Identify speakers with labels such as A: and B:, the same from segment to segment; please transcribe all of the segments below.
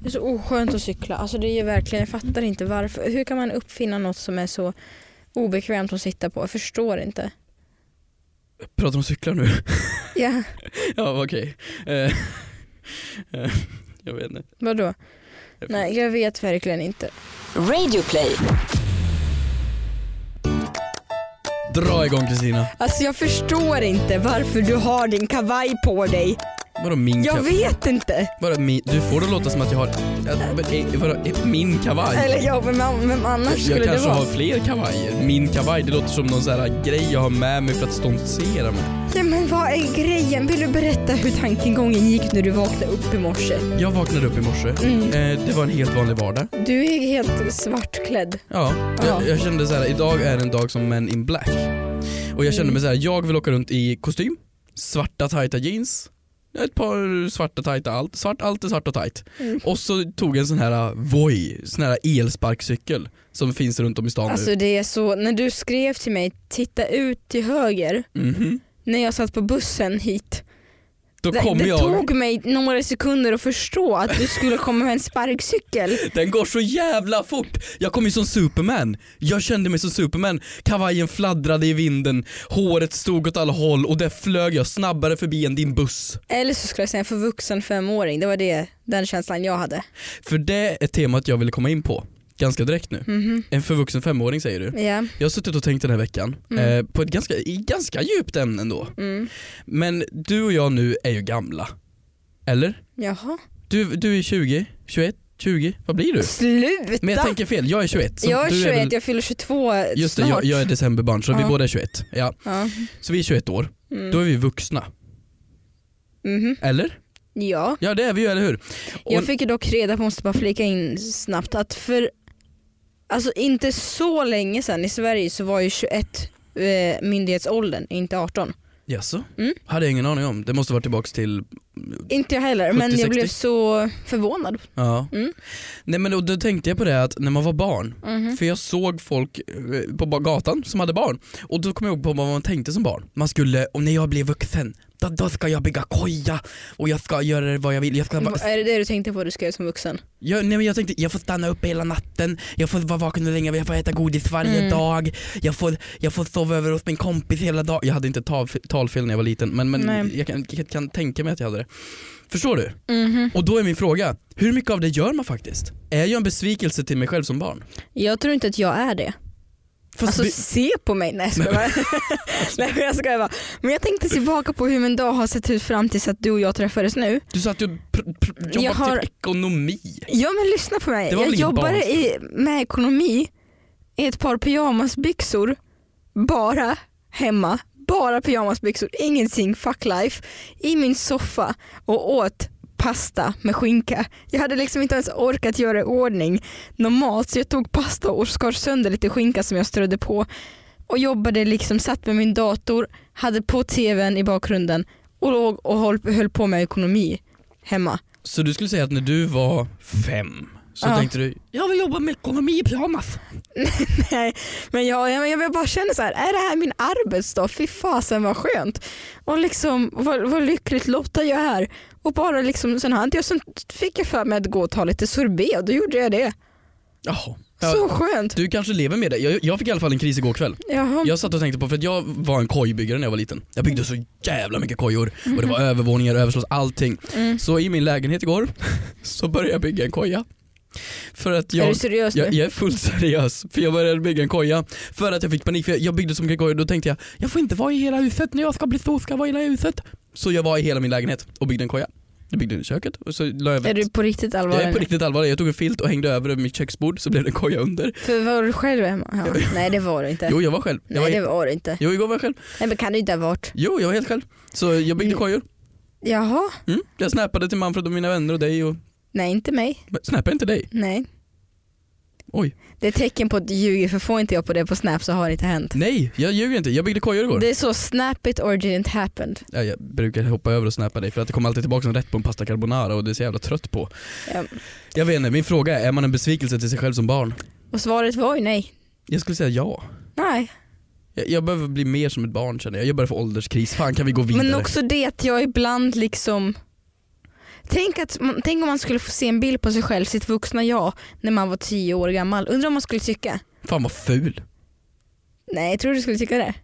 A: Det är så oskönt att cykla. Alltså det är ju verkligen, jag fattar inte varför. Hur kan man uppfinna något som är så obekvämt att sitta på? Jag förstår inte.
B: Pratar om cyklar nu?
A: Ja,
B: ja okej. Eh, eh, jag vet inte.
A: vadå?
B: Jag vet
A: Nej, jag vet verkligen inte.
C: Radioplay.
B: inte. Dra igång Kristina.
A: Alltså jag förstår inte varför du har din kavaj på dig.
B: Mm, Vadå min
A: Jag
B: kavaj?
A: vet inte.
B: Vadå min? Du får det låta som att jag har... Att, men, eh, vadå, eh, min kavaj?
A: Äh. Eller ja, vem, vem annars
B: jag
A: skulle det
B: kanske
A: vara?
B: har fler kavajer. Min kavaj, det låter som någon sån här grej jag har med mig för att stoltsera med.
A: Ja, men vad är grejen? Vill du berätta hur tankegången gick när du vaknade upp i morse?
B: Jag vaknade upp i morse.
A: Mm.
B: Eh, det var en helt vanlig vardag.
A: Du är helt svartklädd.
B: Ja,
A: Ja.
B: Jag, jag kände så här: idag är en dag som Men in Black. Och jag kände
A: Mm.
B: mig så här: jag vill åka runt i kostym, svarta tajta jeans, ett par svarta tajta allt, svart, allt är svart och tajt.
A: Mm.
B: Och så tog jag en sån här uh, Voi, sån här elsparkcykel som finns runt om i stan
A: Alltså det är så, när du skrev till mig, titta ut till höger,
B: nu. Mhm.
A: när jag satt på bussen hit.
B: Då
A: Det,
B: kom
A: det
B: jag,
A: tog mig några sekunder att förstå att du skulle komma med en sparkcykel.
B: den går så jävla fort! Jag kom ju som Superman, jag kände mig som Superman, kavajen fladdrade i vinden, håret stod åt alla håll och där flög jag snabbare förbi än din buss.
A: Eller så skulle jag säga för vuxen femåring, det var det, den känslan jag hade.
B: För det är temat jag ville komma in på ganska direkt nu.
A: Mhm.
B: En förvuxen femåring säger du.
A: Ja.
B: Jag har suttit och tänkt den här veckan
A: Mm.
B: eh, på ett ganska, i ganska djupt ämne ändå.
A: Mm.
B: Men du och jag nu är ju gamla. Eller?
A: Jaha.
B: Du, du är 20, 21, 20, vad blir du?
A: Sluta!
B: Men jag tänker fel, jag är 21. så
A: jag är
B: du
A: 21,
B: väl-
A: jag fyller 22
B: Just det,
A: snart.
B: jag, jag är decemberbarn så vi
A: Ja.
B: båda är 21. Ja.
A: Ja.
B: Så vi är 21 år,
A: Mm.
B: då är vi vuxna.
A: Mhm.
B: Eller?
A: ja.
B: Ja det är vi ju, eller hur? Och,
A: Jag fick ju dock reda på, måste bara flika in snabbt, att för alltså inte så länge sedan i Sverige så var ju 21 eh, myndighetsåldern, inte 18.
B: Jaså?
A: Mm.
B: Hade jag ingen aning om. Det måste vara tillbaks till
A: Inte jag heller, men
B: 70-60.
A: jag blev så förvånad.
B: Ja.
A: Mm.
B: Nej men då, då tänkte jag på det att när man var barn,
A: Mhm.
B: för jag såg folk eh, på ba- gatan som hade barn och då kom jag ihåg på vad man tänkte som barn. Man skulle, och när jag blir vuxen, då, då ska jag bygga koja och jag ska göra vad jag vill. Jag, ska,
A: Va- Är det det du tänkte på du ska göra som vuxen?
B: jag, nej, men jag tänkte jag får stanna uppe hela natten, jag får vara vaken hur länge jag vill, jag får äta godis varje
A: Mm.
B: dag, jag får, jag får sova över hos min kompis hela dagen. Jag hade inte tal, talfel när jag var liten men, men
A: Nej.
B: jag kan, jag kan tänka mig att jag hade det. Förstår du?
A: Mhm.
B: Och då är min fråga, hur mycket av det gör man faktiskt? Är jag en besvikelse till mig själv som barn?
A: Jag tror inte att jag är det.
B: Fast
A: alltså
B: det-
A: se på mig. Nej jag skojar bara. Nej men jag skojar bara. Men jag tänkte tillbaka på hur min dag har sett ut fram tills att du och jag träffades nu.
B: du sa att du pr- pr- jobbade
A: Jag har-
B: till ekonomi.
A: Ja men lyssna på mig.
B: Det var
A: Jag
B: väl ingen barn-
A: jobbade i, med ekonomi i ett par pyjamasbyxor bara hemma. Bara pyjamasbyxor, ingenting fuck life. I min soffa och åt pasta med skinka. Jag hade liksom inte ens orkat göra i ordning någon mat så jag tog pasta och skar sönder lite skinka som jag strödde på och jobbade liksom, satt med min dator, hade på tvn i bakgrunden och låg och höll, höll på med ekonomi hemma.
B: Så du skulle säga att när du var fem så
A: Ja.
B: tänkte du, jag vill jobba med ekonomi i pyjamas.
A: Nej, men jag, jag, jag bara känner så här, är det här min arbetsdag? Fy fasen vad skönt. Och liksom vad, vad lyckligt lottad jag är. Och bara liksom sån här, jag sen fick jag för mig att gå och ta lite sorbet och då gjorde jag det.
B: Jaha.
A: Så
B: Ja,
A: skönt.
B: du kanske lever med det. Jag, jag fick i alla fall en kris igår kväll.
A: Jaha.
B: Jag satt och tänkte på, för att jag var en kojbyggare när jag var liten. Jag byggde så jävla mycket kojor och det var övervåningar, överslås, allting.
A: Mm.
B: Så i min lägenhet igår så började jag bygga en koja. För att jag,
A: är du seriös
B: Jag,
A: nu?
B: jag är fullt seriös, för jag började bygga en koja för att jag fick panik. För jag, jag byggde så mycket kojor, då tänkte jag jag får inte vara i hela huset, när jag ska bli stor ska jag vara i hela huset. Så jag var i hela min lägenhet och byggde en koja. Jag byggde den i köket och så la jag
A: Är
B: över.
A: du på riktigt
B: Jag är
A: allvarlig
B: på
A: nu?
B: riktigt allvarlig, jag tog en filt och hängde över över mitt köksbord så blev det en koja under.
A: För var du själv hemma? Ja. Nej det var du inte.
B: Jo jag var själv. Jag
A: Nej
B: var
A: det
B: helt,
A: var du inte.
B: jo igår var jag själv.
A: Nej men kan du inte ha varit?
B: Jo jag var helt själv. Så jag byggde
A: Mm.
B: kojor.
A: Jaha?
B: Mm. Jag snappade till Manfred och mina vänner och dig och...
A: Nej inte mig.
B: Men Snappade jag inte dig?
A: Nej.
B: Oj.
A: Det är ett tecken på att du ljuger för får inte jag på det på snap så har det inte hänt.
B: Nej, jag ljuger inte. Jag byggde kojor igår.
A: Det är så snap it or didn't happen.
B: Ja, jag brukar hoppa över och snappa dig för att det kommer alltid tillbaka som rätt på en pasta carbonara och det är så jävla trött på.
A: Ja.
B: Jag vet inte, min fråga är, är man en besvikelse till sig själv som barn?
A: Och svaret var ju nej.
B: Jag skulle säga ja.
A: Nej.
B: Jag, jag behöver bli mer som ett barn känner jag. Jag börjar få ålderskris. Fan kan vi gå vidare?
A: Men också det att jag ibland liksom Tänk, att, man- tänk om man skulle få se en bild på sig själv, sitt vuxna jag, när man var tio år gammal. Undrar om man skulle tycka?
B: Fan vad ful.
A: Nej, jag tror du skulle tycka det.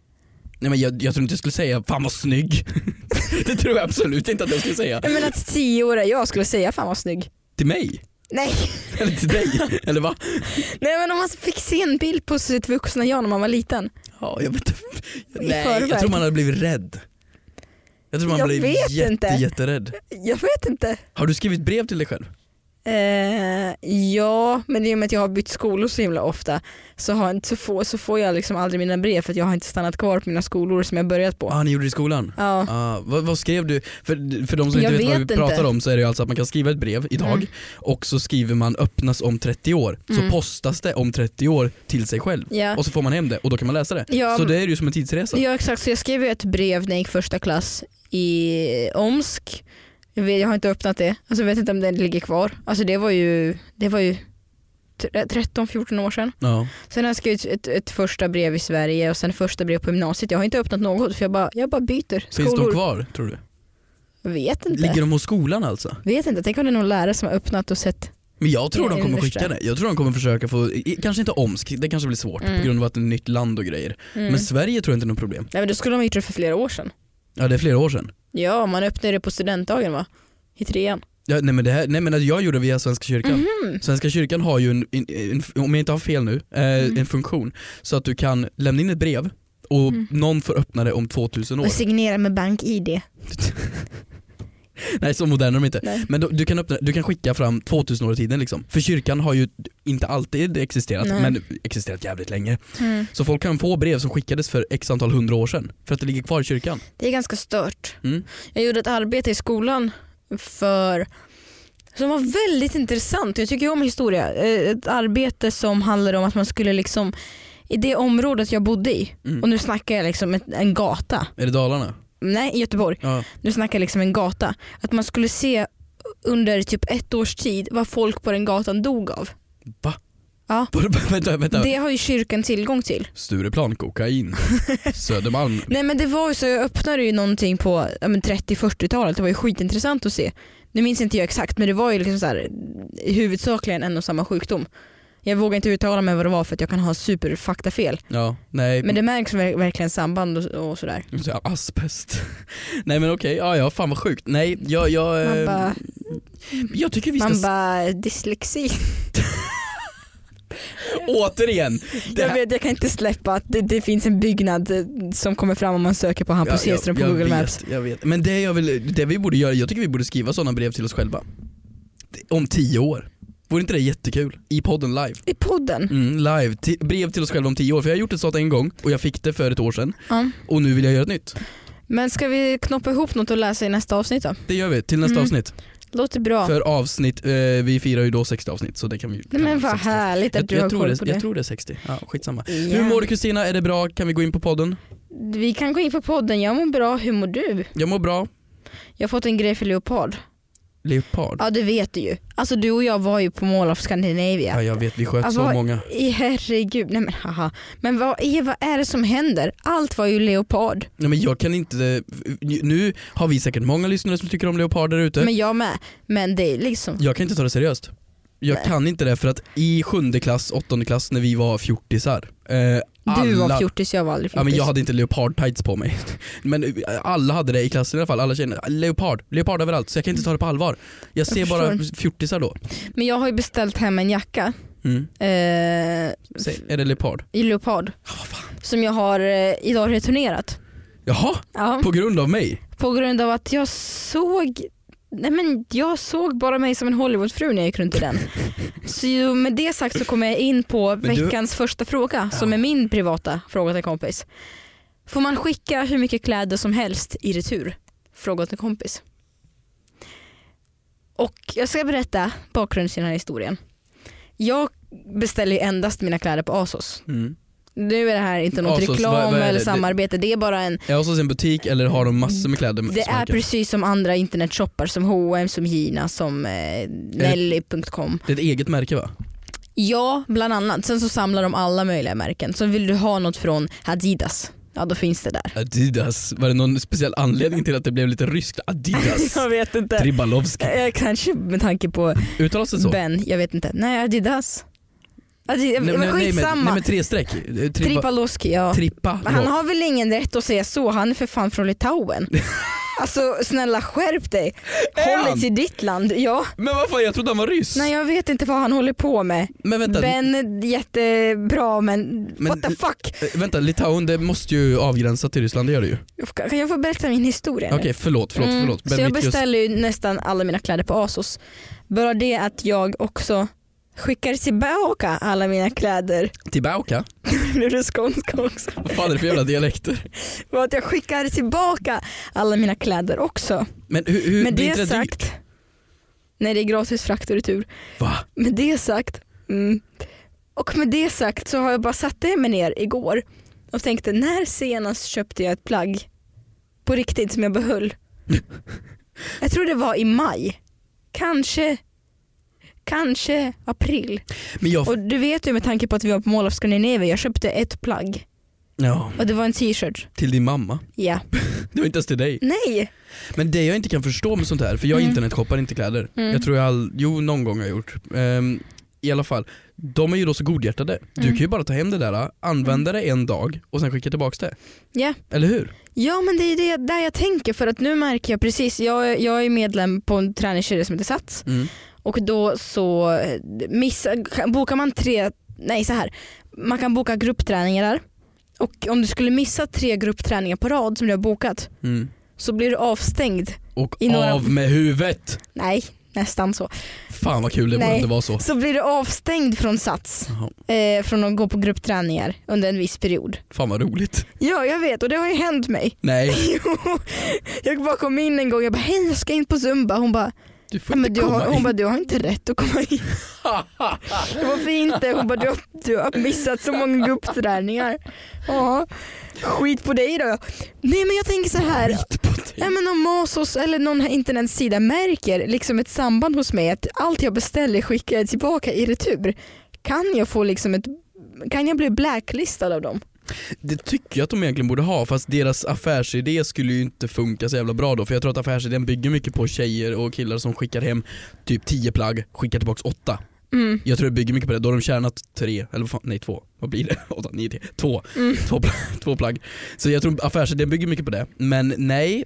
B: Nej men jag, jag tror inte jag skulle säga fan vad snygg. det tror jag absolut inte att jag skulle säga.
A: Nej, Men att tioåriga jag skulle säga fan vad snygg.
B: Till mig?
A: Nej.
B: Eller till dig? Eller va?
A: Nej men om man fick se en bild på sitt vuxna jag när man var liten.
B: Ja, jag vet Nej,
A: förväg.
B: jag tror man hade blivit rädd. Jag tror man
A: Jag
B: blev
A: vet
B: jätte,
A: inte.
B: jätterädd.
A: Jag vet inte.
B: Har du skrivit brev till dig själv?
A: Eh, ja, men i och med att jag har bytt skolor så himla ofta så, har, jag inte- så, får, så får jag liksom aldrig mina brev för att jag har inte stannat kvar på mina skolor som jag börjat på.
B: ah, ni gjorde det i skolan?
A: Ja.
B: Ah, vad, vad skrev du? För, för de som
A: Jag
B: inte vet, vad vi
A: vet inte.
B: pratar om så är det ju alltså att man kan skriva ett brev idag
A: Mm.
B: och så skriver man öppnas om 30 år.
A: Mm.
B: Så postas det om 30 år till sig själv.
A: Ja.
B: Och så får man hem det och då kan man läsa det.
A: Ja,
B: så det är ju som en tidsresa.
A: Ja exakt, så jag skrev ju ett brev när jag gick första klass i Omsk. Jag, vet, jag har inte öppnat det, alltså jag vet inte om den ligger kvar. Alltså det var ju, det var ju tre- 13-14 år sedan.
B: Ja.
A: Sen har jag skrivit ett, ett första brev i Sverige och sen första brev på gymnasiet. Jag har inte öppnat något för jag bara, jag bara byter
B: Finns de
A: skolor.
B: kvar tror du?
A: Vet inte.
B: Ligger de hos skolan alltså?
A: Vet inte, tänk om det är någon lärare som har öppnat och sett.
B: Men jag tror
A: Det är
B: de kommer
A: det
B: skicka
A: värsta.
B: det. Jag tror de kommer försöka få, i- kanske inte Omsk, det kanske blir svårt
A: Mm.
B: på grund av att det är ett nytt land och grejer.
A: Mm.
B: Men Sverige tror jag inte är något problem.
A: Nej men då skulle de ha gjort det för flera år sedan.
B: Ja det är flera år sedan.
A: Ja, man öppnade det på studentdagen va? I trean.
B: Ja, nej, men det här, nej men jag gjorde det via Svenska kyrkan.
A: Mhm.
B: Svenska kyrkan har ju, en, en, en, om jag inte har fel nu, eh,
A: Mm.
B: en funktion så att du kan lämna in ett brev och
A: Mm.
B: någon får öppna det om 2000 år.
A: Och signera med bank-id.
B: Nej så moderna är de inte.
A: Nej.
B: Men då, du, kan öppna, du kan skicka fram 2000 år i tiden liksom. För kyrkan har ju inte alltid existerat
A: Nej.
B: men existerat jävligt länge.
A: Mm.
B: Så folk kan få brev som skickades för x antal hundra år sedan för att det ligger kvar i kyrkan.
A: Det är ganska stört.
B: Mm.
A: Jag gjorde ett arbete i skolan för som var väldigt intressant. Jag tycker ju om historia. Eh, Ett arbete som handlade om att man skulle liksom i det området jag bodde i,
B: Mm.
A: och nu snackar jag liksom ett- en gata,
B: Är det Dalarna?
A: nej i Göteborg,
B: Ja.
A: nu snackar jag liksom en gata, att man skulle se under typ ett års tid vad folk på den gatan dog av.
B: Va?
A: Ja.
B: Var- vänta, vänta.
A: Det har ju kyrkan tillgång till.
B: Stureplan, kokain, Södermalm.
A: Nej men det var ju så, jag öppnade ju någonting på ja, men 30-40-talet, det var ju skitintressant att se. Nu minns inte jag exakt men det var ju liksom så här, huvudsakligen en och samma sjukdom. Jag vågar inte uttala mig vad det var för att jag kan ha superfaktafel.
B: Ja, nej.
A: Men det märks ver- verkligen samband och, och sådär.
B: Jag vill säga Asbest. Nej men okej, ja ja fan vad sjukt. Nej jag, jag,
A: Man
B: eh,
A: bara,
B: jag tycker vi ska
A: man bara dyslexi.
B: återigen. Det
A: Jag,
B: här,
A: vet, jag kan inte släppa att det, det finns en byggnad eh, som kommer fram om man söker på Hampus
B: Ja,
A: Hedström på
B: jag
A: Google
B: vet,
A: Maps.
B: Jag vet. Men det, jag vill, det vi borde göra, jag tycker vi borde skriva sådana brev till oss själva. Om tio år. Vore inte det jättekul? I podden live.
A: I podden?
B: Mm, live. Ti- brev till oss själva om tio år. För jag har gjort ett sånt en gång och jag fick det för ett år sedan.
A: Ja.
B: Och nu vill jag göra ett nytt.
A: Men ska vi knoppa ihop något och läsa i nästa avsnitt då?
B: Det gör vi till nästa
A: Mm.
B: avsnitt.
A: Låter bra.
B: För avsnitt, eh, vi firar ju då 60 avsnitt så det kan vi ju-
A: Nej, men
B: kan-
A: vad
B: 60.
A: härligt att
B: jag,
A: du
B: jag
A: har
B: tror
A: koll
B: det,
A: på det.
B: Jag tror det är 60, ja, skitsamma.
A: Ja.
B: Hur mår du Kristina? Är det bra? Kan vi gå in på podden?
A: Vi kan gå in på podden, jag mår bra, hur mår du?
B: Jag mår bra.
A: Jag har fått en grej för leopard.
B: Leopard?
A: Ja det vet du ju. Alltså du och jag var ju på Mall of Scandinavia.
B: Ja, jag vet, vi sköt
A: Ja, Alltså-
B: så
A: vad-
B: många.
A: I herregud, nej men haha. Men vad är, vad är det som händer? Allt var ju leopard.
B: Nej, men jag kan inte, nu har vi säkert många lyssnare som tycker om leoparder ute.
A: Men jag med. Men det är liksom,
B: Jag kan inte ta det seriöst. Jag
A: Nej.
B: kan inte det för att i sjunde klass, åttonde klass när vi var fjortisar. Eh,
A: du
B: alla-
A: var fjortis, jag var aldrig
B: Ja,
A: fjortis.
B: men jag hade inte leopardtights på mig. Men eh, alla hade det i klassen i alla fall, alla tjejerna. "Ah, Leopard, leopard överallt. Så jag kan inte ta det på allvar. Jag ser bara
A: förstår.
B: fjortisar då.
A: Men jag har ju beställt hem en jacka
B: Mm.
A: eh,
B: Säg, är det leopard?
A: i leopard. Som jag har eh, idag returnerat.
B: Jaha,
A: Ja.
B: på grund av mig?
A: På grund av att jag såg Nej men jag såg bara mig som en Hollywoodfru när jag gick runt i den. Så ju, med det sagt så kommer jag in på
B: Men du-
A: veckans första fråga som
B: Ja.
A: är min privata fråga till en kompis. Får man skicka hur mycket kläder som helst i retur? Fråga till en kompis. Och jag ska berätta bakgrunden till den här historien. Jag beställer ju endast mina kläder på ASOS.
B: Mm.
A: Nu är det här inte något
B: ASOS, vad-
A: reklam
B: vad är det?
A: eller
B: Det-
A: samarbete, det är bara en
B: Är jag hos en butik eller har de massor med kläder? Mm, som
A: det
B: man
A: är
B: kan-
A: precis som andra internetshoppar som H&M, som Gina, som eh, Nelly.com.
B: det är ett eget märke va?
A: Ja, bland annat. Sen så samlar de alla möjliga märken. Så vill du ha något från Adidas ja då finns det där.
B: Adidas, var det någon speciell anledning till att det blev lite ryskt? Adidas?
A: Jag vet inte.
B: Tribalovski.
A: Eh, Kanske med tanke på
B: Uttalas det så?
A: Ben, jag vet inte. Nej Adidas. Adi-
B: Nej,
A: men
B: nej, nej, men, nej
A: skitsamma.
B: men tre streck. Eh, Triba,
A: Tripaloski ja.
B: trippa.
A: Men han har väl ingen rätt att säga så, han är för fan från Litauen. alltså snälla skärp dig.
B: Är
A: Håll
B: han?
A: dig till ditt land. Ja.
B: Men vad fan jag trodde han var ryss.
A: Nej jag vet inte vad han håller på med.
B: Men vänta,
A: Ben är jättebra men,
B: Men-
A: what the fuck.
B: eh, vänta, Litauen det måste ju avgränsa till Ryssland, det gör det ju.
A: Kan jag få berätta min historia nu?
B: Okej förlåt, förlåt,
A: Eh, Mm,
B: förlåt.
A: Så jag
B: Mitkus-
A: beställer ju nästan alla mina kläder på Asos. Bara det att jag också skickar tillbaka alla mina kläder.
B: Tillbaka?
A: Nu är det skånska också.
B: Vad fan är det för jävla dialekter?
A: Och att jag skickar tillbaka alla mina kläder också.
B: Men hur, hur
A: Med
B: blir
A: det
B: inte dyrt?
A: sagt. Nej det är gratis frakt och retur.
B: Va?
A: Med det sagt. Mm. Och med det sagt så har jag bara satt det mig ner igår och tänkte när senast köpte jag ett plagg på riktigt som jag behöll? jag tror det var i maj. Kanske Kanske april.
B: Men jag...
A: Och du vet ju med tanke på att vi var på Mall of Scandinavia, jag köpte ett plagg
B: Ja,
A: och det var en t-shirt.
B: till din mamma.
A: Ja.
B: Det var inte ens till dig.
A: Nej!
B: Men det jag inte kan förstå med sånt här, för jag
A: Mm.
B: internetshoppar inte kläder.
A: Mm.
B: Jag tror jag all, jo någon gång har jag gjort. Ehm, I alla fall, de är ju då så godhjärtade. Du
A: Mm.
B: kan ju bara ta hem det där, använda det en dag och sen skicka tillbaka det.
A: Ja.
B: Eller hur?
A: Ja men det är det där jag tänker för att nu märker jag precis, jag, jag är medlem på en träningskedja som heter Sats.
B: Mm.
A: Och då så eh, missar, bokar man tre, nej så här. Man kan boka gruppträningar där. Och om du skulle missa tre gruppträningar på rad som du har bokat
B: Mm.
A: så blir du avstängd.
B: Och
A: I några-
B: av med huvudet!
A: Nej, nästan så.
B: Fan vad kul det vore
A: Nej.
B: om det var så.
A: Så blir du avstängd från Sats.
B: Jaha.
A: Eh, från att gå på gruppträningar under en viss period.
B: Fan vad roligt.
A: Ja, jag vet och det har ju hänt mig.
B: Nej,
A: Jo, jag bara kom in en gång jag bara hej jag ska in på zumba. Hon bara,
B: du får
A: "Nej, men
B: inte
A: du
B: komma
A: har, hon
B: in.
A: bara du har inte rätt att komma in. Ja, Varför inte? Hon bara du har, du har missat så många gruppträningar. Ja, skit på dig då. Nej men jag tänker så här.
B: Skit på dig.
A: Nej, men om Masos eller någon här internetsida märker liksom ett samband hos mig att allt jag beställer skickar jag tillbaka i retur. Kan jag få liksom ett kan jag bli blacklistad av dem?
B: Det tycker jag att de egentligen borde ha fast deras affärsidé skulle ju inte funka så jävla bra då för jag tror att affärsidén bygger mycket på tjejer och killar som skickar hem typ 10 plagg, skickar tillbaks 8.
A: Mm.
B: Jag tror det bygger mycket på det, då har de tjänat 3, eller vad fan, nej 2, vad blir det? 8, 9, 10, 2,
A: Mm.
B: två plagg. Så jag tror affärsidén bygger mycket på det. Men nej,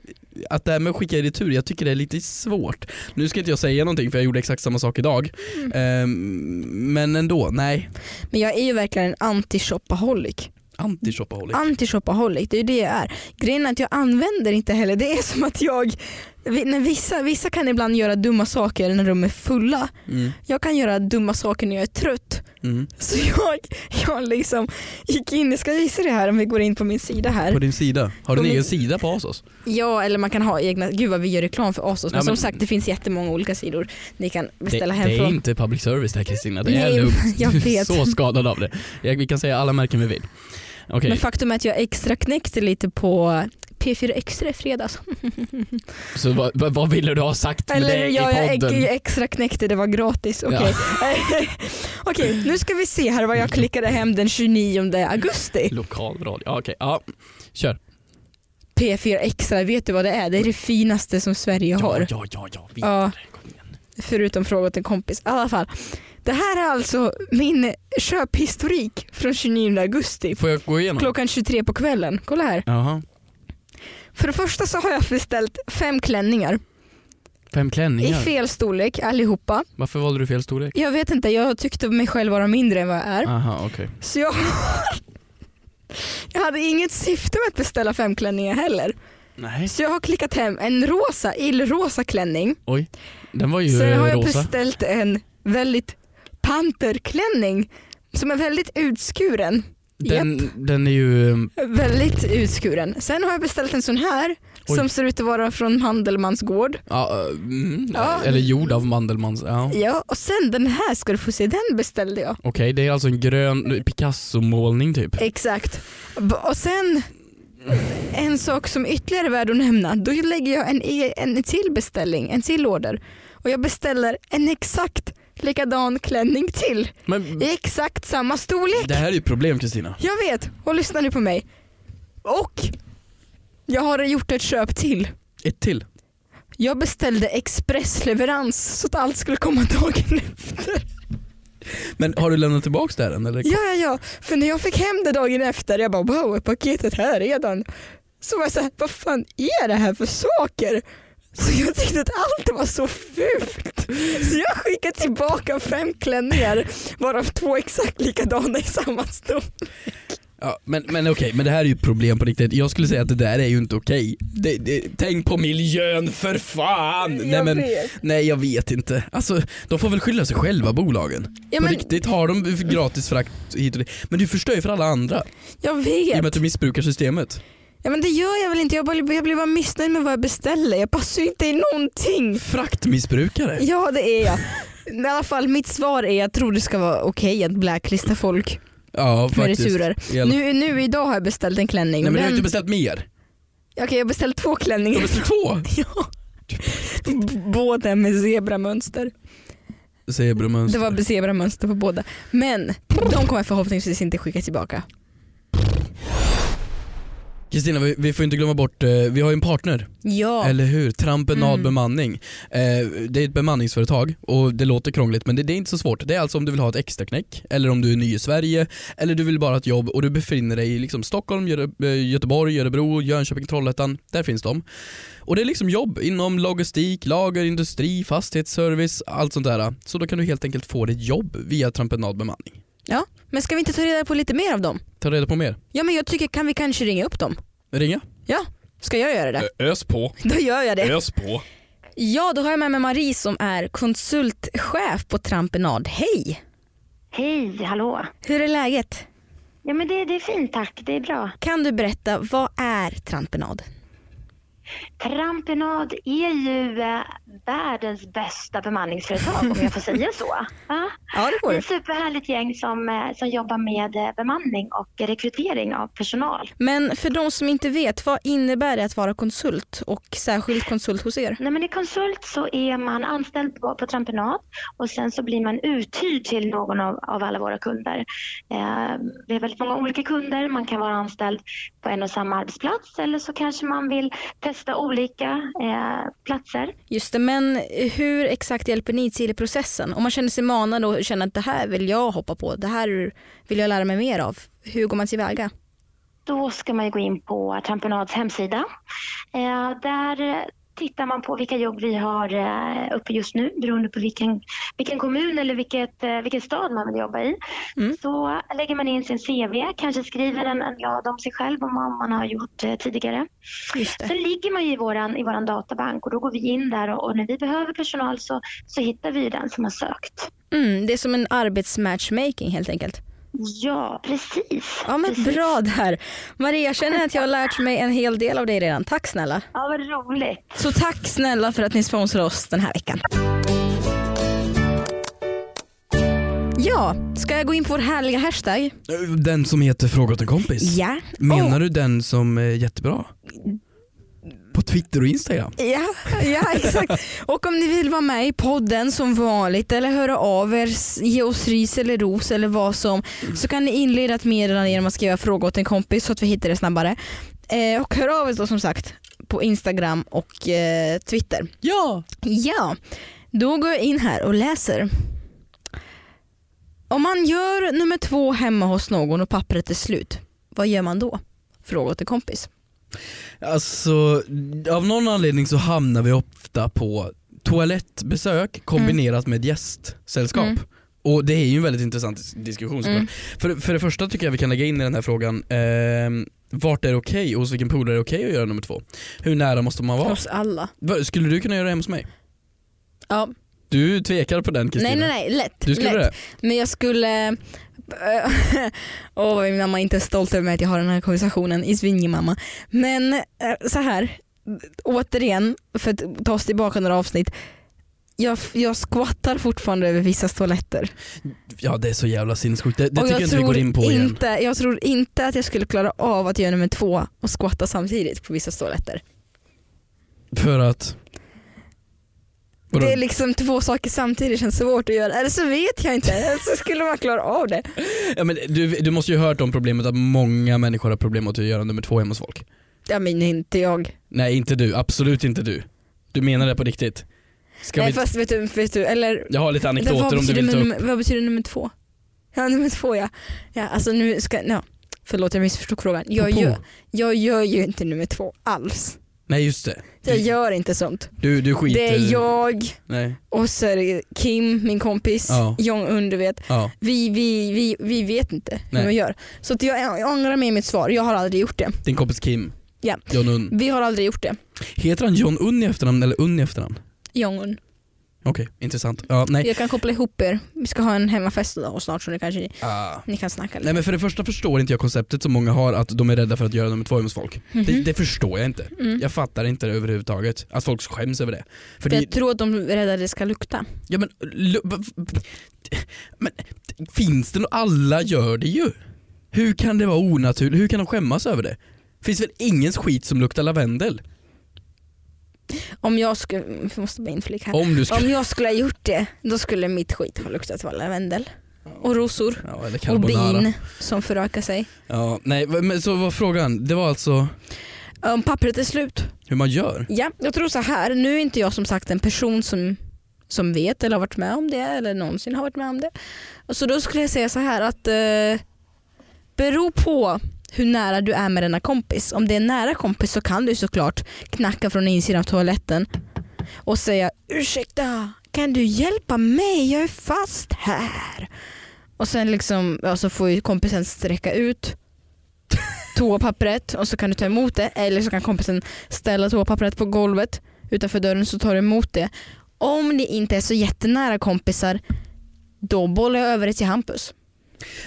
B: att det här med att skicka i retur, jag tycker det är lite svårt. Nu ska inte jag säga någonting för jag gjorde exakt samma sak idag. Ehm, men ändå, nej.
A: Men jag är ju verkligen en anti-shopaholic.
B: Anti-shopaholic.
A: Anti-shopaholic, det är ju det jag är. Grejen är att jag använder inte heller, det är som att jag, vi- när vissa, vissa kan ibland göra dumma saker när de är fulla.
B: Mm,
A: Jag kan göra dumma saker när jag är trött.
B: mm.
A: Så jag, jag liksom gick in, jag ska visa det här om vi går in på min sida
B: På
A: här.
B: din sida, har du
A: På
B: en
A: min-
B: egen sida på Asos?
A: Ja eller man kan ha egna, gud vad vi gör reklam för Asos men,
B: Ja,
A: som
B: men-
A: sagt det finns jättemånga olika sidor ni kan beställa
B: det, det är
A: hemifrån.
B: inte public service det här Kristina, det
A: Nej,
B: är lugnt.
A: jag
B: Du är
A: vet.
B: så skadad av det. Jag, vi kan säga alla märken vi vill. Okej,
A: Men faktum är att jag extra knäckte lite på P4 Extra i fredags.
B: så vad, vad, vad ville du ha sagt med
A: Eller
B: det
A: ja,
B: i
A: jag,
B: podden?
A: jag extra knäckte, det var gratis. Okej, Okej, nu ska vi se här vad
B: Mm.
A: jag klickade hem den 29 augusti.
B: Lokalradio, ja, okej. Ja, kör.
A: P4 Extra, vet du vad det är? Det är det finaste som Sverige har.
B: Ja, ja, ja, ja. Vi
A: Ja.
B: Kom igen.
A: Förutom fråga åt en kompis. I alla fall. Det här är alltså min köphistorik från 29 augusti.
B: Får jag gå igenom?
A: Klockan 23 på kvällen. Kolla här.
B: Jaha.
A: För det första så har jag beställt fem klänningar.
B: Fem
A: I
B: klänningar.
A: fel storlek allihopa.
B: Varför valde du fel storlek?
A: Jag vet inte, jag tyckte mig själv vara mindre än vad jag är.
B: Aha, okej.
A: Så jag Jag hade inget syfte med att beställa fem klänningar heller.
B: Nej.
A: Så jag har klickat hem en rosa, illrosa klänning.
B: Oj, den var ju
A: Sen har jag
B: rosa.
A: beställt en väldigt panterklänning som är väldigt utskuren.
B: den, den är ju... um,
A: Väldigt utskuren. Sen har jag beställt en sån här
B: Oj.
A: som ser ut att vara från Handelmans gård.
B: Ja, mm,
A: Ja.
B: Eller gjord av Mandelmans. Ja.
A: Ja, och sen den här ska du få se, den beställde jag.
B: Okej, det är alltså en grön Picasso-målning typ.
A: Exakt. B- Och sen en sak som ytterligare är värd att nämna. Då lägger jag en, e- en till beställning, en till order. Och jag beställer en exakt likadan klänning till.
B: Men
A: I exakt samma storlek.
B: det här är ju problem Kristina.
A: Jag vet, och lyssna nu på mig. Och jag har gjort ett köp till.
B: Ett till.
A: Jag beställde expressleverans så att allt skulle komma dagen efter.
B: Men har du lämnat tillbaks det här än? Eller?
A: Ja, ja, ja. För när jag fick hem det dagen efter, jag bara wow, är paketet här redan? Så var jag såhär, vad fan är det här för saker? Så jag tyckte att allt var så fult. Så jag skickade tillbaka fem klänningar varav två exakt likadana i samma stor.
B: Ja, men men okej, men det här är ju ett problem på riktigt. Jag skulle säga att det där är ju inte okej. Det, det, tänk på miljön för fan! nej, men, nej jag vet inte. Alltså, de får väl skylla sig själva bolagen.
A: Ja,
B: på
A: men,
B: riktigt, har de gratis frakt hit och dit. Men du förstör ju för alla andra
A: jag
B: i och med
A: vet.
B: att du missbrukar systemet.
A: Ja, men det gör jag väl inte. Jag, bara, jag blir bara missnöjd med vad jag beställer. Jag passar ju inte i någonting.
B: Fraktmissbrukare.
A: Ja det är jag. Men I alla fall mitt svar är jag tror det ska vara okej att blacklista folk
B: Ja,
A: med
B: faktiskt.
A: returer.
B: I alla-
A: Nu, nu idag har jag beställt en klänning.
B: Nej men du har ju
A: men-
B: inte beställt mer.
A: Okej jag har beställt två
B: Du
A: klänningar.
B: har beställt två.
A: ja. B- Båda med zebramönster. Det
B: Zebramönster.
A: var zebramönster på båda. Men de kommer jag förhoppningsvis inte skicka tillbaka.
B: Kristina, vi, vi får inte glömma bort, eh, vi har ju en partner,
A: Ja.
B: eller hur? Trampenad
A: Mm.
B: bemanning. Eh, det är ett bemanningsföretag och det låter krångligt men det, det är inte så svårt. Det är alltså om du vill ha ett extra knäck eller om du är ny i Sverige, eller du vill bara ha ett jobb och du befinner dig i liksom Stockholm, Göte- eh, Göteborg, Örebro, Jönköping, Trollhättan. Där finns de. Och det är liksom jobb inom logistik, lager, industri, fastighetsservice, allt sånt där. Så då kan du helt enkelt få ditt jobb via Trampenad bemanning.
A: ja. Men ska vi inte ta reda på lite mer av dem?
B: Ta reda på mer.
A: Ja men jag tycker kan vi kanske ringa upp dem?
B: Ringa.
A: Ja. Ska jag göra det?
B: Ös på.
A: Då gör jag det.
B: Ös på.
A: Ja då har jag med mig Marie som är konsultchef på Trampenad. Hej!
C: Hej, hallå.
A: Hur är läget?
C: Ja, men det, det är fint tack, det är bra.
A: Kan du berätta, vad är trampenad?
C: Trampenad är ju eh, världens bästa bemanningsföretag om jag får säga så. Va?
A: Ja det
C: Det är ett superhärligt gäng som, eh, som jobbar med eh, bemanning och rekrytering av personal.
A: Men för de som inte vet, vad innebär det att vara konsult och särskilt konsult hos er?
C: Nej, men I konsult så är man anställd på, på trampenad och sen så blir man uthyrd till någon av, av alla våra kunder. Eh, vi har väldigt många olika kunder. Man kan vara anställd på en och samma arbetsplats eller så kanske man vill testa olika eh, platser.
A: Just det, men hur exakt hjälper ni till i processen? Om man känner sig manad och känner att det här vill jag hoppa på, det här vill jag lära mig mer av. Hur går man tillväga?
C: Då ska man ju gå in på Trampenads hemsida. Eh, där eh, tittar man på vilka jobb vi har eh, uppe just nu beroende på vilken, vilken kommun eller vilket, eh, vilken stad man vill jobba i.
A: Mm.
C: Så lägger man in sin CV, kanske skriver en, en glad om sig själv om vad man har gjort eh, tidigare.
A: Just det.
C: Sen ligger man ju i vår i våran databank och då går vi in där och, och när vi behöver personal så, så hittar vi den som har sökt.
A: Mm, det är som en arbetsmatchmaking helt enkelt.
C: Ja, precis.
A: Ja men
C: precis.
A: bra där. Maria, jag känner att jag har lärt mig en hel del av dig redan. Tack snälla.
C: Ja, vad roligt.
A: Så tack snälla för att ni sponsrar oss den här veckan. Ja, ska jag gå in på vår härliga hashtag?
B: Den som heter Fråga åt en kompis?
A: Ja.
B: Menar du den som är jättebra? På Twitter och Instagram?
A: Ja, ja exakt. Och om ni vill vara med i podden som vanligt eller höra av er, s- ge oss ris eller ros eller vad som så kan ni inleda ett meddelande genom att skriva fråga åt en kompis så att vi hittar det snabbare. Eh, och hör av er då som sagt på Instagram och eh, Twitter.
B: Ja!
A: Ja, då går jag in här och läser. Om man gör nummer två hemma hos någon och pappret är slut, vad gör man då? Fråga åt en kompis.
B: Alltså, av någon anledning så hamnar vi ofta på toalettbesök kombinerat med gästsällskap.
A: Mm.
B: Och det är ju en väldigt intressant dis- diskussion såklart.
A: Mm.
B: För, för det första tycker jag vi kan lägga in i den här frågan, eh, vart är det okej och hos vilken polare är det okej att göra nummer två? Hur nära måste man vara?
A: Oss alla.
B: Va- Skulle du kunna göra det hemma hos mig?
A: Ja.
B: Du tvekar på den Kristina.
A: Nej nej nej, lätt.
B: Du skulle
A: lätt.
B: göra det?
A: Men jag skulle... Åh vad min mamma inte är stolt över mig att jag har den här konversationen. I svinge mamma. Men eh, så här återigen, för att ta oss tillbaka några avsnitt. Jag, jag skvattar fortfarande över vissa toaletter.
B: Ja det är så jävla sinnessjukt, det, det
A: Och
B: tycker jag inte vi går in på
A: inte,
B: igen.
A: Jag tror inte att jag skulle klara av att göra nummer två och skvatta samtidigt på vissa toaletter.
B: För att Vadå?
A: Det är liksom två saker samtidigt känns svårt att göra. Eller så vet jag inte. Eller så skulle man klara av det.
B: Ja, men du, du måste ju ha hört om problemet att många människor har problem att göra nummer två hemma hos folk.
A: Ja men inte jag.
B: Nej inte du, absolut inte du. Du menar det på riktigt. Ska
A: Nej
B: vi...
A: fast vet du, vet du eller
B: Jag har lite
A: Vänta,
B: anekdoter om du
A: betyder
B: vill ta upp.
A: nummer, vad betyder nummer två? Ja nummer två ja. ja alltså nu ska, no. Förlåt jag missförstod frågan. Jag
B: På- på.
A: gör, jag gör ju inte nummer två alls.
B: Nej just det.
A: Jag
B: Du,
A: gör inte sånt.
B: du, du skiter
A: Det är jag
B: Nej.
A: och så är det Kim, min kompis,
B: Ja.
A: John Undervet.
B: Ja.
A: Vi, vi, vi, vi vet inte
B: Nej.
A: hur man gör. Så att jag, jag ångrar mig i mitt svar, jag har aldrig gjort det.
B: Din kompis Kim.
A: Ja.
B: John Unn.
A: Vi har aldrig gjort det.
B: Heter han John Unn i efternamn eller Unn i efternamn?
A: Jongun.
B: Okej, intressant. Ja, nej.
A: Jag kan koppla ihop er. Vi ska ha en hemmafest idag och snart så nu kanske ni,
B: Ah.
A: ni kan snacka lite.
B: Nej men för det första förstår inte jag konceptet som många har att de är rädda för att göra nummer två hos folk. Det,
A: Mhm.
B: det förstår jag inte.
A: Mm.
B: Jag fattar inte det överhuvudtaget. Att folk skäms över det. För
A: För
B: det,
A: jag tror att de är rädda att det ska lukta.
B: ja men, lu- va- va- men finns det nå- alla gör det ju. Hur kan det vara onaturligt? Hur kan de skämmas över det? Finns väl ingens skit som luktar lavendel?
A: Om jag skulle, jag måste bara inflika här.
B: Om du skulle...
A: Om jag skulle ha gjort det, då skulle mitt skit ha luktat av lavendel. Och rosor.
B: Ja, eller
A: Och
B: carbonara.
A: bin som förökar sig.
B: Ja, nej, v- men så var frågan, det var alltså
A: Om pappret är slut.
B: hur man gör?
A: Ja, jag tror så här. Nu är inte jag som sagt en person som, som vet eller har varit med om det eller någonsin har varit med om det. Så då skulle jag säga så här att eh, beror på hur nära du är med denna kompis. Om det är en nära kompis så kan du såklart knacka från insidan av toaletten och säga ursäkta kan du hjälpa mig? Jag är fast här. Och sen liksom, ja, så får ju kompisen sträcka ut toapappret och så kan du ta emot det eller så kan kompisen ställa toapappret på golvet utanför dörren så tar du emot det. Om ni inte är så jättenära kompisar då bollar jag över det till Hampus.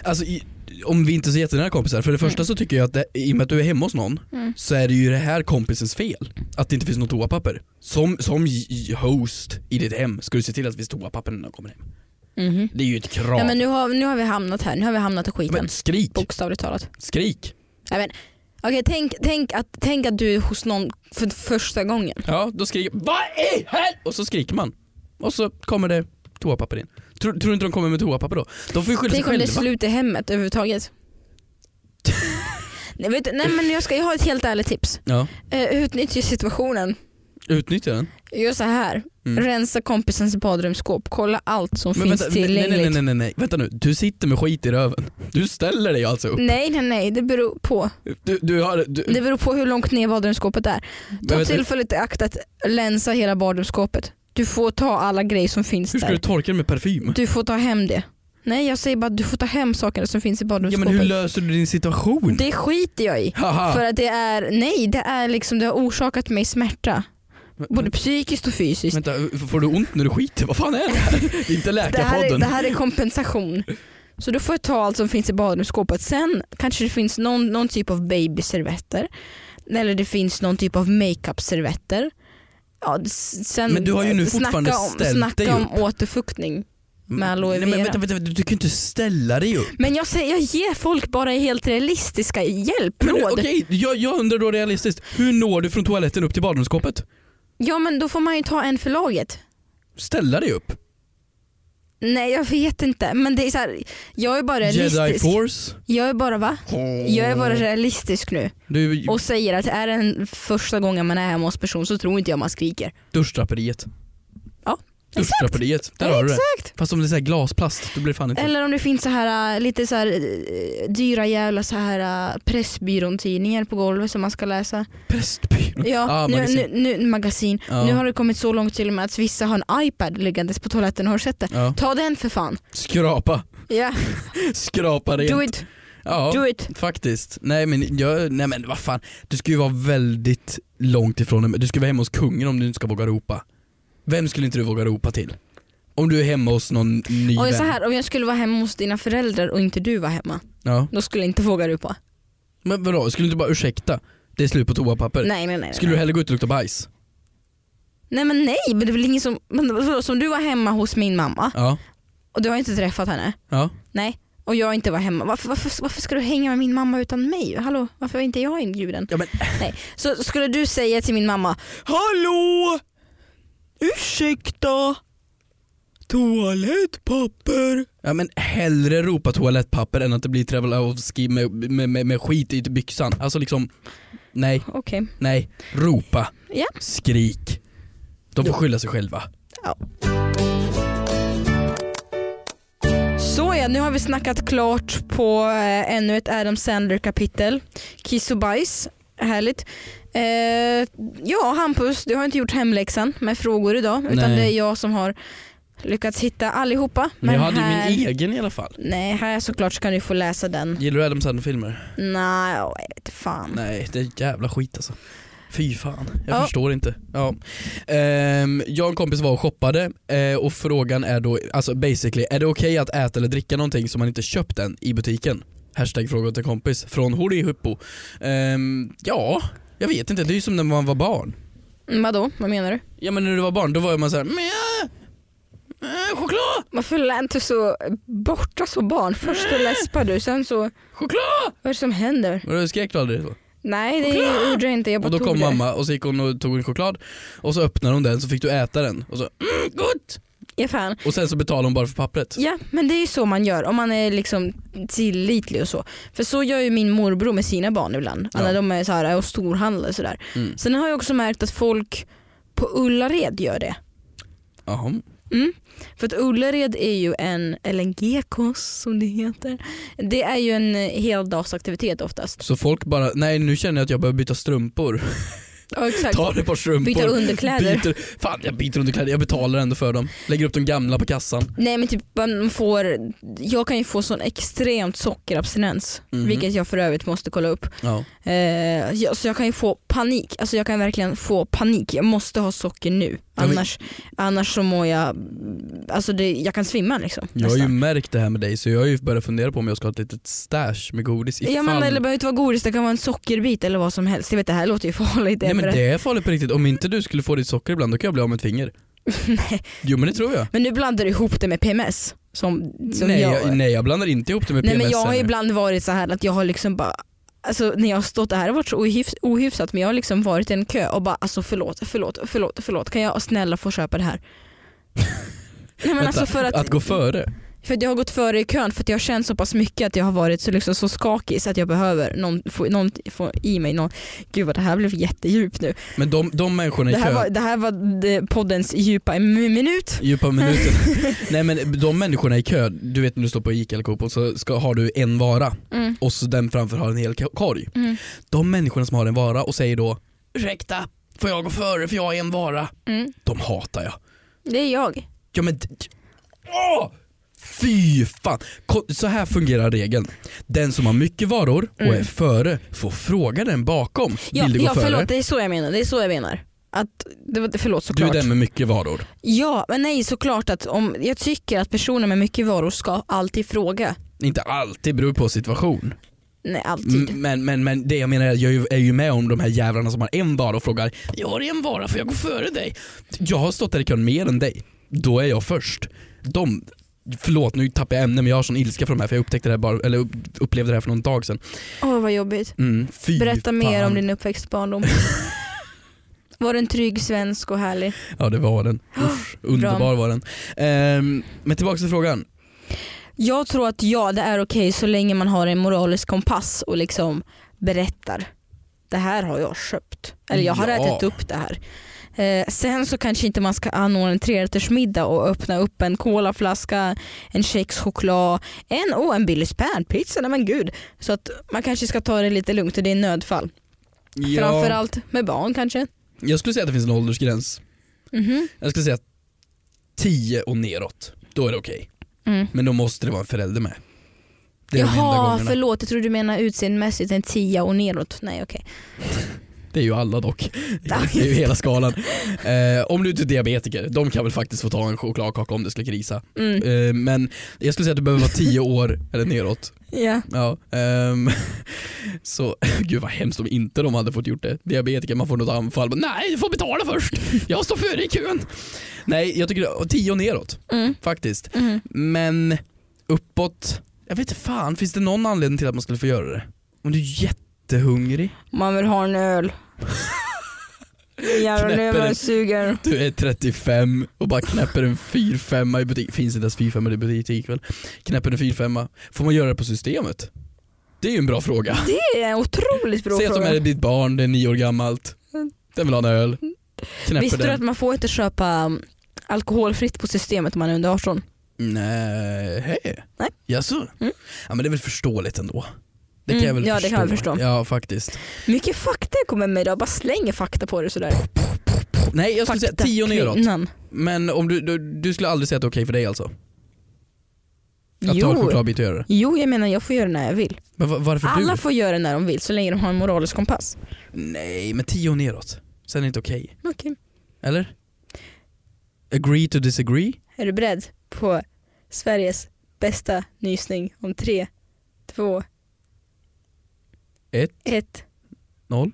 B: Alltså, i, om vi inte är så jättenära kompisar, för det första
A: Mm.
B: så tycker jag att det, i och med att du är hemma hos någon så är det ju det här kompisens fel. Att det inte finns något toapapper. Som, som j- j- host i ditt hem ska du se till att det finns toapapper när de kommer hem. Det är ju ett krav.
A: Ja, men nu, har, nu har vi hamnat här, nu har vi hamnat i skiten.
B: Men skrik,
A: Bokstavligt talat.
B: skrik.
A: Ja, men, okej, tänk, tänk, att, tänk att du är hos någon för första gången.
B: Ja, då skriker Vad i hel-" Och så skriker man. Och så kommer det toapapper in. Tror, tror du inte de kommer med toapapper då? De får ju skylla sig
A: Tänk om det är
B: själva.
A: slut i hemmet överhuvudtaget. nej, vet du, nej men jag, ska, jag har ett helt ärligt tips.
B: Ja,
A: Eh, utnyttja situationen.
B: utnyttja den.
A: Gör så här.
B: Mm.
A: Rensa kompisens badrumsskåp. Kolla allt som finns
B: nej, nej,
A: tillgängligt.
B: nej, nej, nej, nej, vänta nu. Du sitter med skit i röven. Du ställer dig alltså upp.
A: Nej nej nej, det beror på.
B: Du, du har, du,
A: Det beror på hur långt ner badrumsskåpet är.
B: men
A: Ta
B: vänta,
A: tillfället i akt att länsa hela badrumsskåpet. Du får ta alla grejer som finns
B: hur ska du
A: där.
B: torka den med parfym?
A: Du får ta hem det. Nej jag säger bara att du får ta hem sakerna som finns i
B: Ja,
A: badrumsskåpet.
B: men hur löser du din situation?
A: det skiter jag i. För
B: Haha.
A: att det är, nej det är liksom, det har orsakat mig smärta. Både psykiskt och fysiskt.
B: Vänta, får du ont när du skiter? Vad fan är det här? Det är inte
A: Det här, är,
B: Läkarpodden.
A: det här är kompensation. Så då får jag ta allt som finns i badrumsskåpet. Sen kanske det finns någon, någon typ av babyservetter. Eller det finns någon typ av makeupservetter. Ja, s- sen
B: Men du har ju nu fortfarande
A: snacka om,
B: ställt
A: snacka
B: dig
A: om
B: upp. Mm.
A: återfuktning. med aloe
B: Nej, men
A: vera.
B: vänta, vänta, vänta, du kan ju inte ställa dig upp.
A: Men jag, säger, jag ger folk bara helt realistiska
B: Men du,
A: hjälpråd.
B: Okej, jag, jag undrar då realistiskt. Hur når du från toaletten upp till badrumsskåpet?
A: Ja men då får man ju ta en för laget.
B: Ställa dig upp.
A: Nej jag vet inte men det är så här, jag är bara
B: Jedi
A: realistisk.
B: force.
A: Jag är bara va? Jag är bara realistisk nu.
B: Du,
A: och säger att är det en första gången man är hemma hos person så tror inte jag man skriker.
B: duschdraperiet.
A: Ja,
B: Duschdraperiet, där har du det.
A: Exakt.
B: Fast om det är så här glasplast, då blir det fan inte...
A: Eller om det finns så här äh, lite så här äh, dyra jävla så här äh, Pressbyrån-tidningar på golvet som man ska läsa.
B: Prästbyrån.
A: Ja,
B: Mm. Ah,
A: nu,
B: magasin.
A: nu, nu, magasin.
B: Ja.
A: Nu har det kommit så långt till och med att vissa har en iPad liggandes på toaletten. Har du sett det?
B: Ja.
A: Ta den för fan.
B: Skrapa.
A: Ja,
B: Skrapa rent.
A: do it.
B: Ja.
A: Do it.
B: Faktiskt. Nej men, jag, nej men vad fan. Du ska ju vara väldigt långt ifrån Du ska vara hemma hos kungen om du inte ska våga ropa. Vem skulle inte du våga ropa till? Om du är hemma hos någon ny
A: Och
B: vän.
A: så här, om jag skulle vara hemma hos dina föräldrar och inte du var hemma,
B: Ja.
A: då skulle jag inte våga ropa.
B: Men vadå, skulle du inte bara ursäkta? Det är slut på toapapper.
A: Nej, nej, nej. nej.
B: Skulle du hellre gå ut och lukta bajs?
A: nej men nej, men det är väl ingen som, men, vadå, som du var hemma hos min mamma
B: Ja.
A: och du har inte träffat henne.
B: Ja.
A: Nej, och jag inte var hemma. Varför, varför, varför ska du hänga med min mamma utan mig? Hallå, varför var inte jag inbjuden?
B: ja men,
A: Nej. Så skulle du säga till min mamma,
B: hallå!
A: Ursäkta?
B: Toalettpapper. Ja men hellre ropa toalettpapper än att det blir Travelovski med, med, med, med skit i byxan. Alltså liksom, nej,
A: Okej.
B: nej. Ropa,
A: Ja.
B: skrik. De får skylla sig själva.
A: Såja, nu har vi snackat klart på eh, ännu ett Adam Sandler kapitel. Kiss och bajs, härligt. Eh, ja Hampus, du har inte gjort hemläxan med frågor idag utan
B: Nej.
A: det är jag som har lyckats hitta allihopa.
B: Men jag hade ju
A: här...
B: min egen i alla fall.
A: Nej, här såklart ska ni få läsa den.
B: Gillar du Adam Sandler-filmer?
A: Nej, jag vet fan.
B: Nej, det är jävla skit alltså. Fy fan, jag
A: Ja.
B: förstår inte. Ja. Ehm, jag och en kompis var och shoppade eh, och frågan är då, alltså basically, är det okej att äta eller dricka någonting som man inte köpt än i butiken? Hashtag fråga till kompis från Hori Huppo. Ehm, ja, jag vet inte, det är ju som när man var barn.
A: Mm, Vadå, vad menar du?
B: Ja men när du var barn då var man såhär, meh, meh, Eh, choklad,
A: Varför lät inte så borta så barn? Först så läspar du, sen så... Vad
B: choklad!
A: är det som händer?
B: Och då skrek du aldrig så?
A: Nej, det gjorde jag inte. Jag bara
B: Och då
A: tog
B: kom
A: det.
B: mamma och så gick hon och tog en choklad och så öppnade hon den så fick du äta den och så mm, gott!
A: Ja, fan.
B: Och sen så betalade hon bara för pappret.
A: Ja men det är ju så man gör om man är liksom tillitlig och så. För så gör ju min morbror med sina barn ibland.
B: Ja.
A: När de är så här och storhandlar och sådär.
B: Mm.
A: Sen har jag också märkt att folk på Ullared gör det.
B: Jaha.
A: Mm. För att Ullared är ju en, eller en gekos som det heter. Det är ju en heldagsaktivitet oftast.
B: Så folk bara, nej nu känner jag att jag behöver byta strumpor.
A: Ja exakt.
B: Tar ett par strumpor.
A: Byta underkläder.
B: Byter, fan jag byter underkläder, jag betalar ändå för dem. Lägger upp de gamla på kassan.
A: Nej men typ man får, jag kan ju få sån extremt sockerabstinens.
B: Mhm.
A: Vilket jag för övrigt måste kolla upp.
B: Ja.
A: Eh, ja, så jag kan ju få panik, alltså jag kan verkligen få panik. Jag måste ha socker nu
B: men-
A: annars, annars så mår jag, alltså det, jag kan svimma liksom.
B: Jag har ju
A: nästan.
B: märkt det här med dig så jag har ju börjat fundera på om jag ska ha ett litet stash med godis ifall...
A: Ja men det behöver inte vara godis, det kan vara en sockerbit eller vad som helst. Jag vet det här låter ju farligt.
B: Nej men
A: Ebbe.
B: det är farligt på riktigt, om inte du skulle få ditt socker ibland då kan jag bli av med ett finger.
A: Nej.
B: Jo men det tror jag.
A: men nu blandar du ihop det med PMS. Som, som
B: nej,
A: jag,
B: jag, nej jag blandar inte ihop det med
A: nej men
B: PMS
A: jag har
B: ännu.
A: ibland varit så här att jag har liksom bara Alltså när jag har stått, det här har varit så ohyfs, ohyfsat men jag har liksom varit i en kö och bara alltså förlåt, förlåt, förlåt, förlåt kan jag snälla få köpa det här? Nej men
B: Vänta,
A: alltså för att,
B: att gå före?
A: För att jag har gått före i kön för att jag har känt så pass mycket att jag har varit så, liksom, så skakig så att jag behöver någon, få, någon få i mig någon. Gud vad det här blev jättedjupt nu.
B: Men de, de människorna i
A: Det här
B: kön,
A: var, det här var det- poddens djupa m- minut.
B: djupa minuten. Nej men de människorna i kö, du vet när du står på Ica eller Coop och så ska, har du en vara
A: Mm.
B: och så den framför har en hel ko- korg.
A: Mm.
B: De människorna som har en vara och säger då ursäkta, får jag gå före för jag har en vara?
A: Mm.
B: De hatar jag.
A: Det är jag.
B: Ja men... d- Åh! Fy fan! Ko- Så här fungerar regeln. Den som har mycket varor och är
A: Mm.
B: före får fråga den bakom.
A: Ja,
B: Vill du gå
A: ja
B: före?
A: förlåt, det är så jag menar. Det är så jag menar. Att, det var, förlåt
B: Du är
A: såklart.
B: den med mycket varor.
A: Ja men nej såklart att om, jag tycker att personer med mycket varor ska alltid fråga.
B: Inte alltid, beror på situation.
A: Nej alltid.
B: M- Men, men, men det jag menar är att jag är ju- är ju med om de här jävlarna som har en vara och frågar Jag har en vara för jag går före dig. Jag har stått där i kön mer än dig. Då är jag först. De, förlåt nu tappar jag ämne men jag har sån ilska för de här för jag upptäckte det här bara, eller upp- upplevde det här för någon dag sedan.
A: Åh vad jobbigt.
B: Mm, fy
A: Berätta mer
B: fan.
A: om din uppväxt och barndom. Var den trygg, svensk och härlig?
B: Ja det var den. Usch, underbar var den. Ehm, men tillbaka till frågan.
A: Jag tror att ja, det är okej så länge man har en moralisk kompass och liksom berättar. Det här har jag köpt. Eller jag har
B: Ja.
A: ätit upp det här. Eh, sen så kanske inte man ska anordna en trerättersmiddag och öppna upp en colaflaska, en kex choklad, en, oh, en Billys pärlpizza, nej men gud. Så att man kanske ska ta det lite lugnt och det är nödfall. Framförallt med barn kanske.
B: Jag skulle säga att det finns en åldersgräns.
A: Mhm.
B: Jag skulle säga 10 och neråt. Då är det okej.
A: Mm.
B: Men då måste det vara en förälder med. Det är de enda
A: Jaha,
B: gångerna.
A: förlåt jag tror du menar utseendemässigt en tia och neråt. Nej okej.
B: Det är ju alla dock. Det är ju hela skalan. Eh, om du inte är diabetiker, de kan väl faktiskt få ta en chokladkaka om det skulle krisa.
A: Mm.
B: Eh, men jag skulle säga att du behöver vara 10 år eller neråt.
A: Ja.
B: Ja, ehm, så gud vad hemskt om inte de hade fått gjort det. Diabetiker, man får något anfall. Men, Nej, du får betala först. Jag står före i kön. Nej, jag tycker det- 10 och neråt
A: Mm.
B: faktiskt.
A: Mm.
B: Men uppåt, jag vet inte fan, finns det någon anledning till att man skulle få göra det? Om du är jättehungrig?
A: Man vill ha en öl. Jävlar nu är
B: Knäpper
A: man
B: det.
A: sugen.
B: Du är 35 och bara knäpper en 4-5 i butik. Finns inte ens 4-5 i butik väl? Knäpper en 4-5. Får man göra det på systemet? Det är ju en bra fråga.
A: Det är en otroligt bra
B: Säg att de är
A: fråga. Mm.
B: ditt barn, det är nio år gammalt. Den vill ha en öl. Knäpper
A: Visste du
B: den.
A: att man får inte köpa um, alkoholfritt på systemet om man är under 18?
B: Nej. hej.
A: Nej.
B: Jaså?
A: Mm.
B: Ja men det är väl förståeligt ändå. Det kan
A: Mm,
B: jag väl
A: ja, det
B: förstå.
A: kan jag förstå.
B: Ja faktiskt.
A: Mycket fakta jag kommer med idag, bara slänger fakta på dig sådär.
B: Nej jag skulle säga
A: Fakta
B: tio neråt.
A: kvinnan.
B: Men om du, du, du skulle aldrig säga att det är okej för dig alltså? Att ta en
A: Jo.
B: chokladbit och göra det?
A: Jo jag menar jag får göra det när jag vill.
B: Men va- varför
A: Alla
B: du?
A: får göra det när de vill så länge de har en moralisk kompass.
B: Nej men tio och neråt. Sen är det inte okej.
A: Okej.
B: Eller? Agree to disagree?
A: Är du beredd på Sveriges bästa nysning om tre, två,
B: Ett.
A: ett.
B: Noll?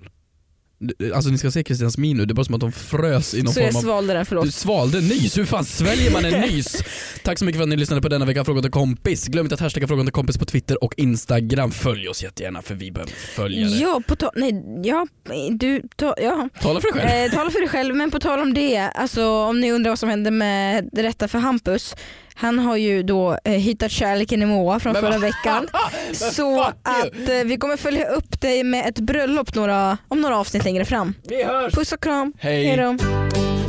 B: Du- Alltså ni ska se Kristians min nu, det är bara som att de frös i någon
A: Så
B: form
A: jag
B: av...
A: svalde den, förlåt.
B: Du svalde en nys, hur fan sväljer man en nys? Tack så mycket för att ni lyssnade på denna vecka Frågan till kompis. Glöm inte att hashtagga Frågan till kompis på Twitter och Instagram. Följ oss jättegärna för vi behöver följare.
A: Ja, på tal... Nej, ja, du... Ta, ja.
B: Tala för dig själv.
A: Eh, tala för dig själv, men på tal om det, alltså, om ni undrar vad som hände med det rätta för Hampus. Han har ju då eh, hittat kärleken i Moa från
B: Men
A: förra
B: vad-
A: veckan. så
B: fuck you.
A: att eh, vi kommer följa upp dig med ett bröllop några, om några avsnitt längre fram.
B: Vi hörs!
A: Puss och kram,
B: Hej!
A: hej då.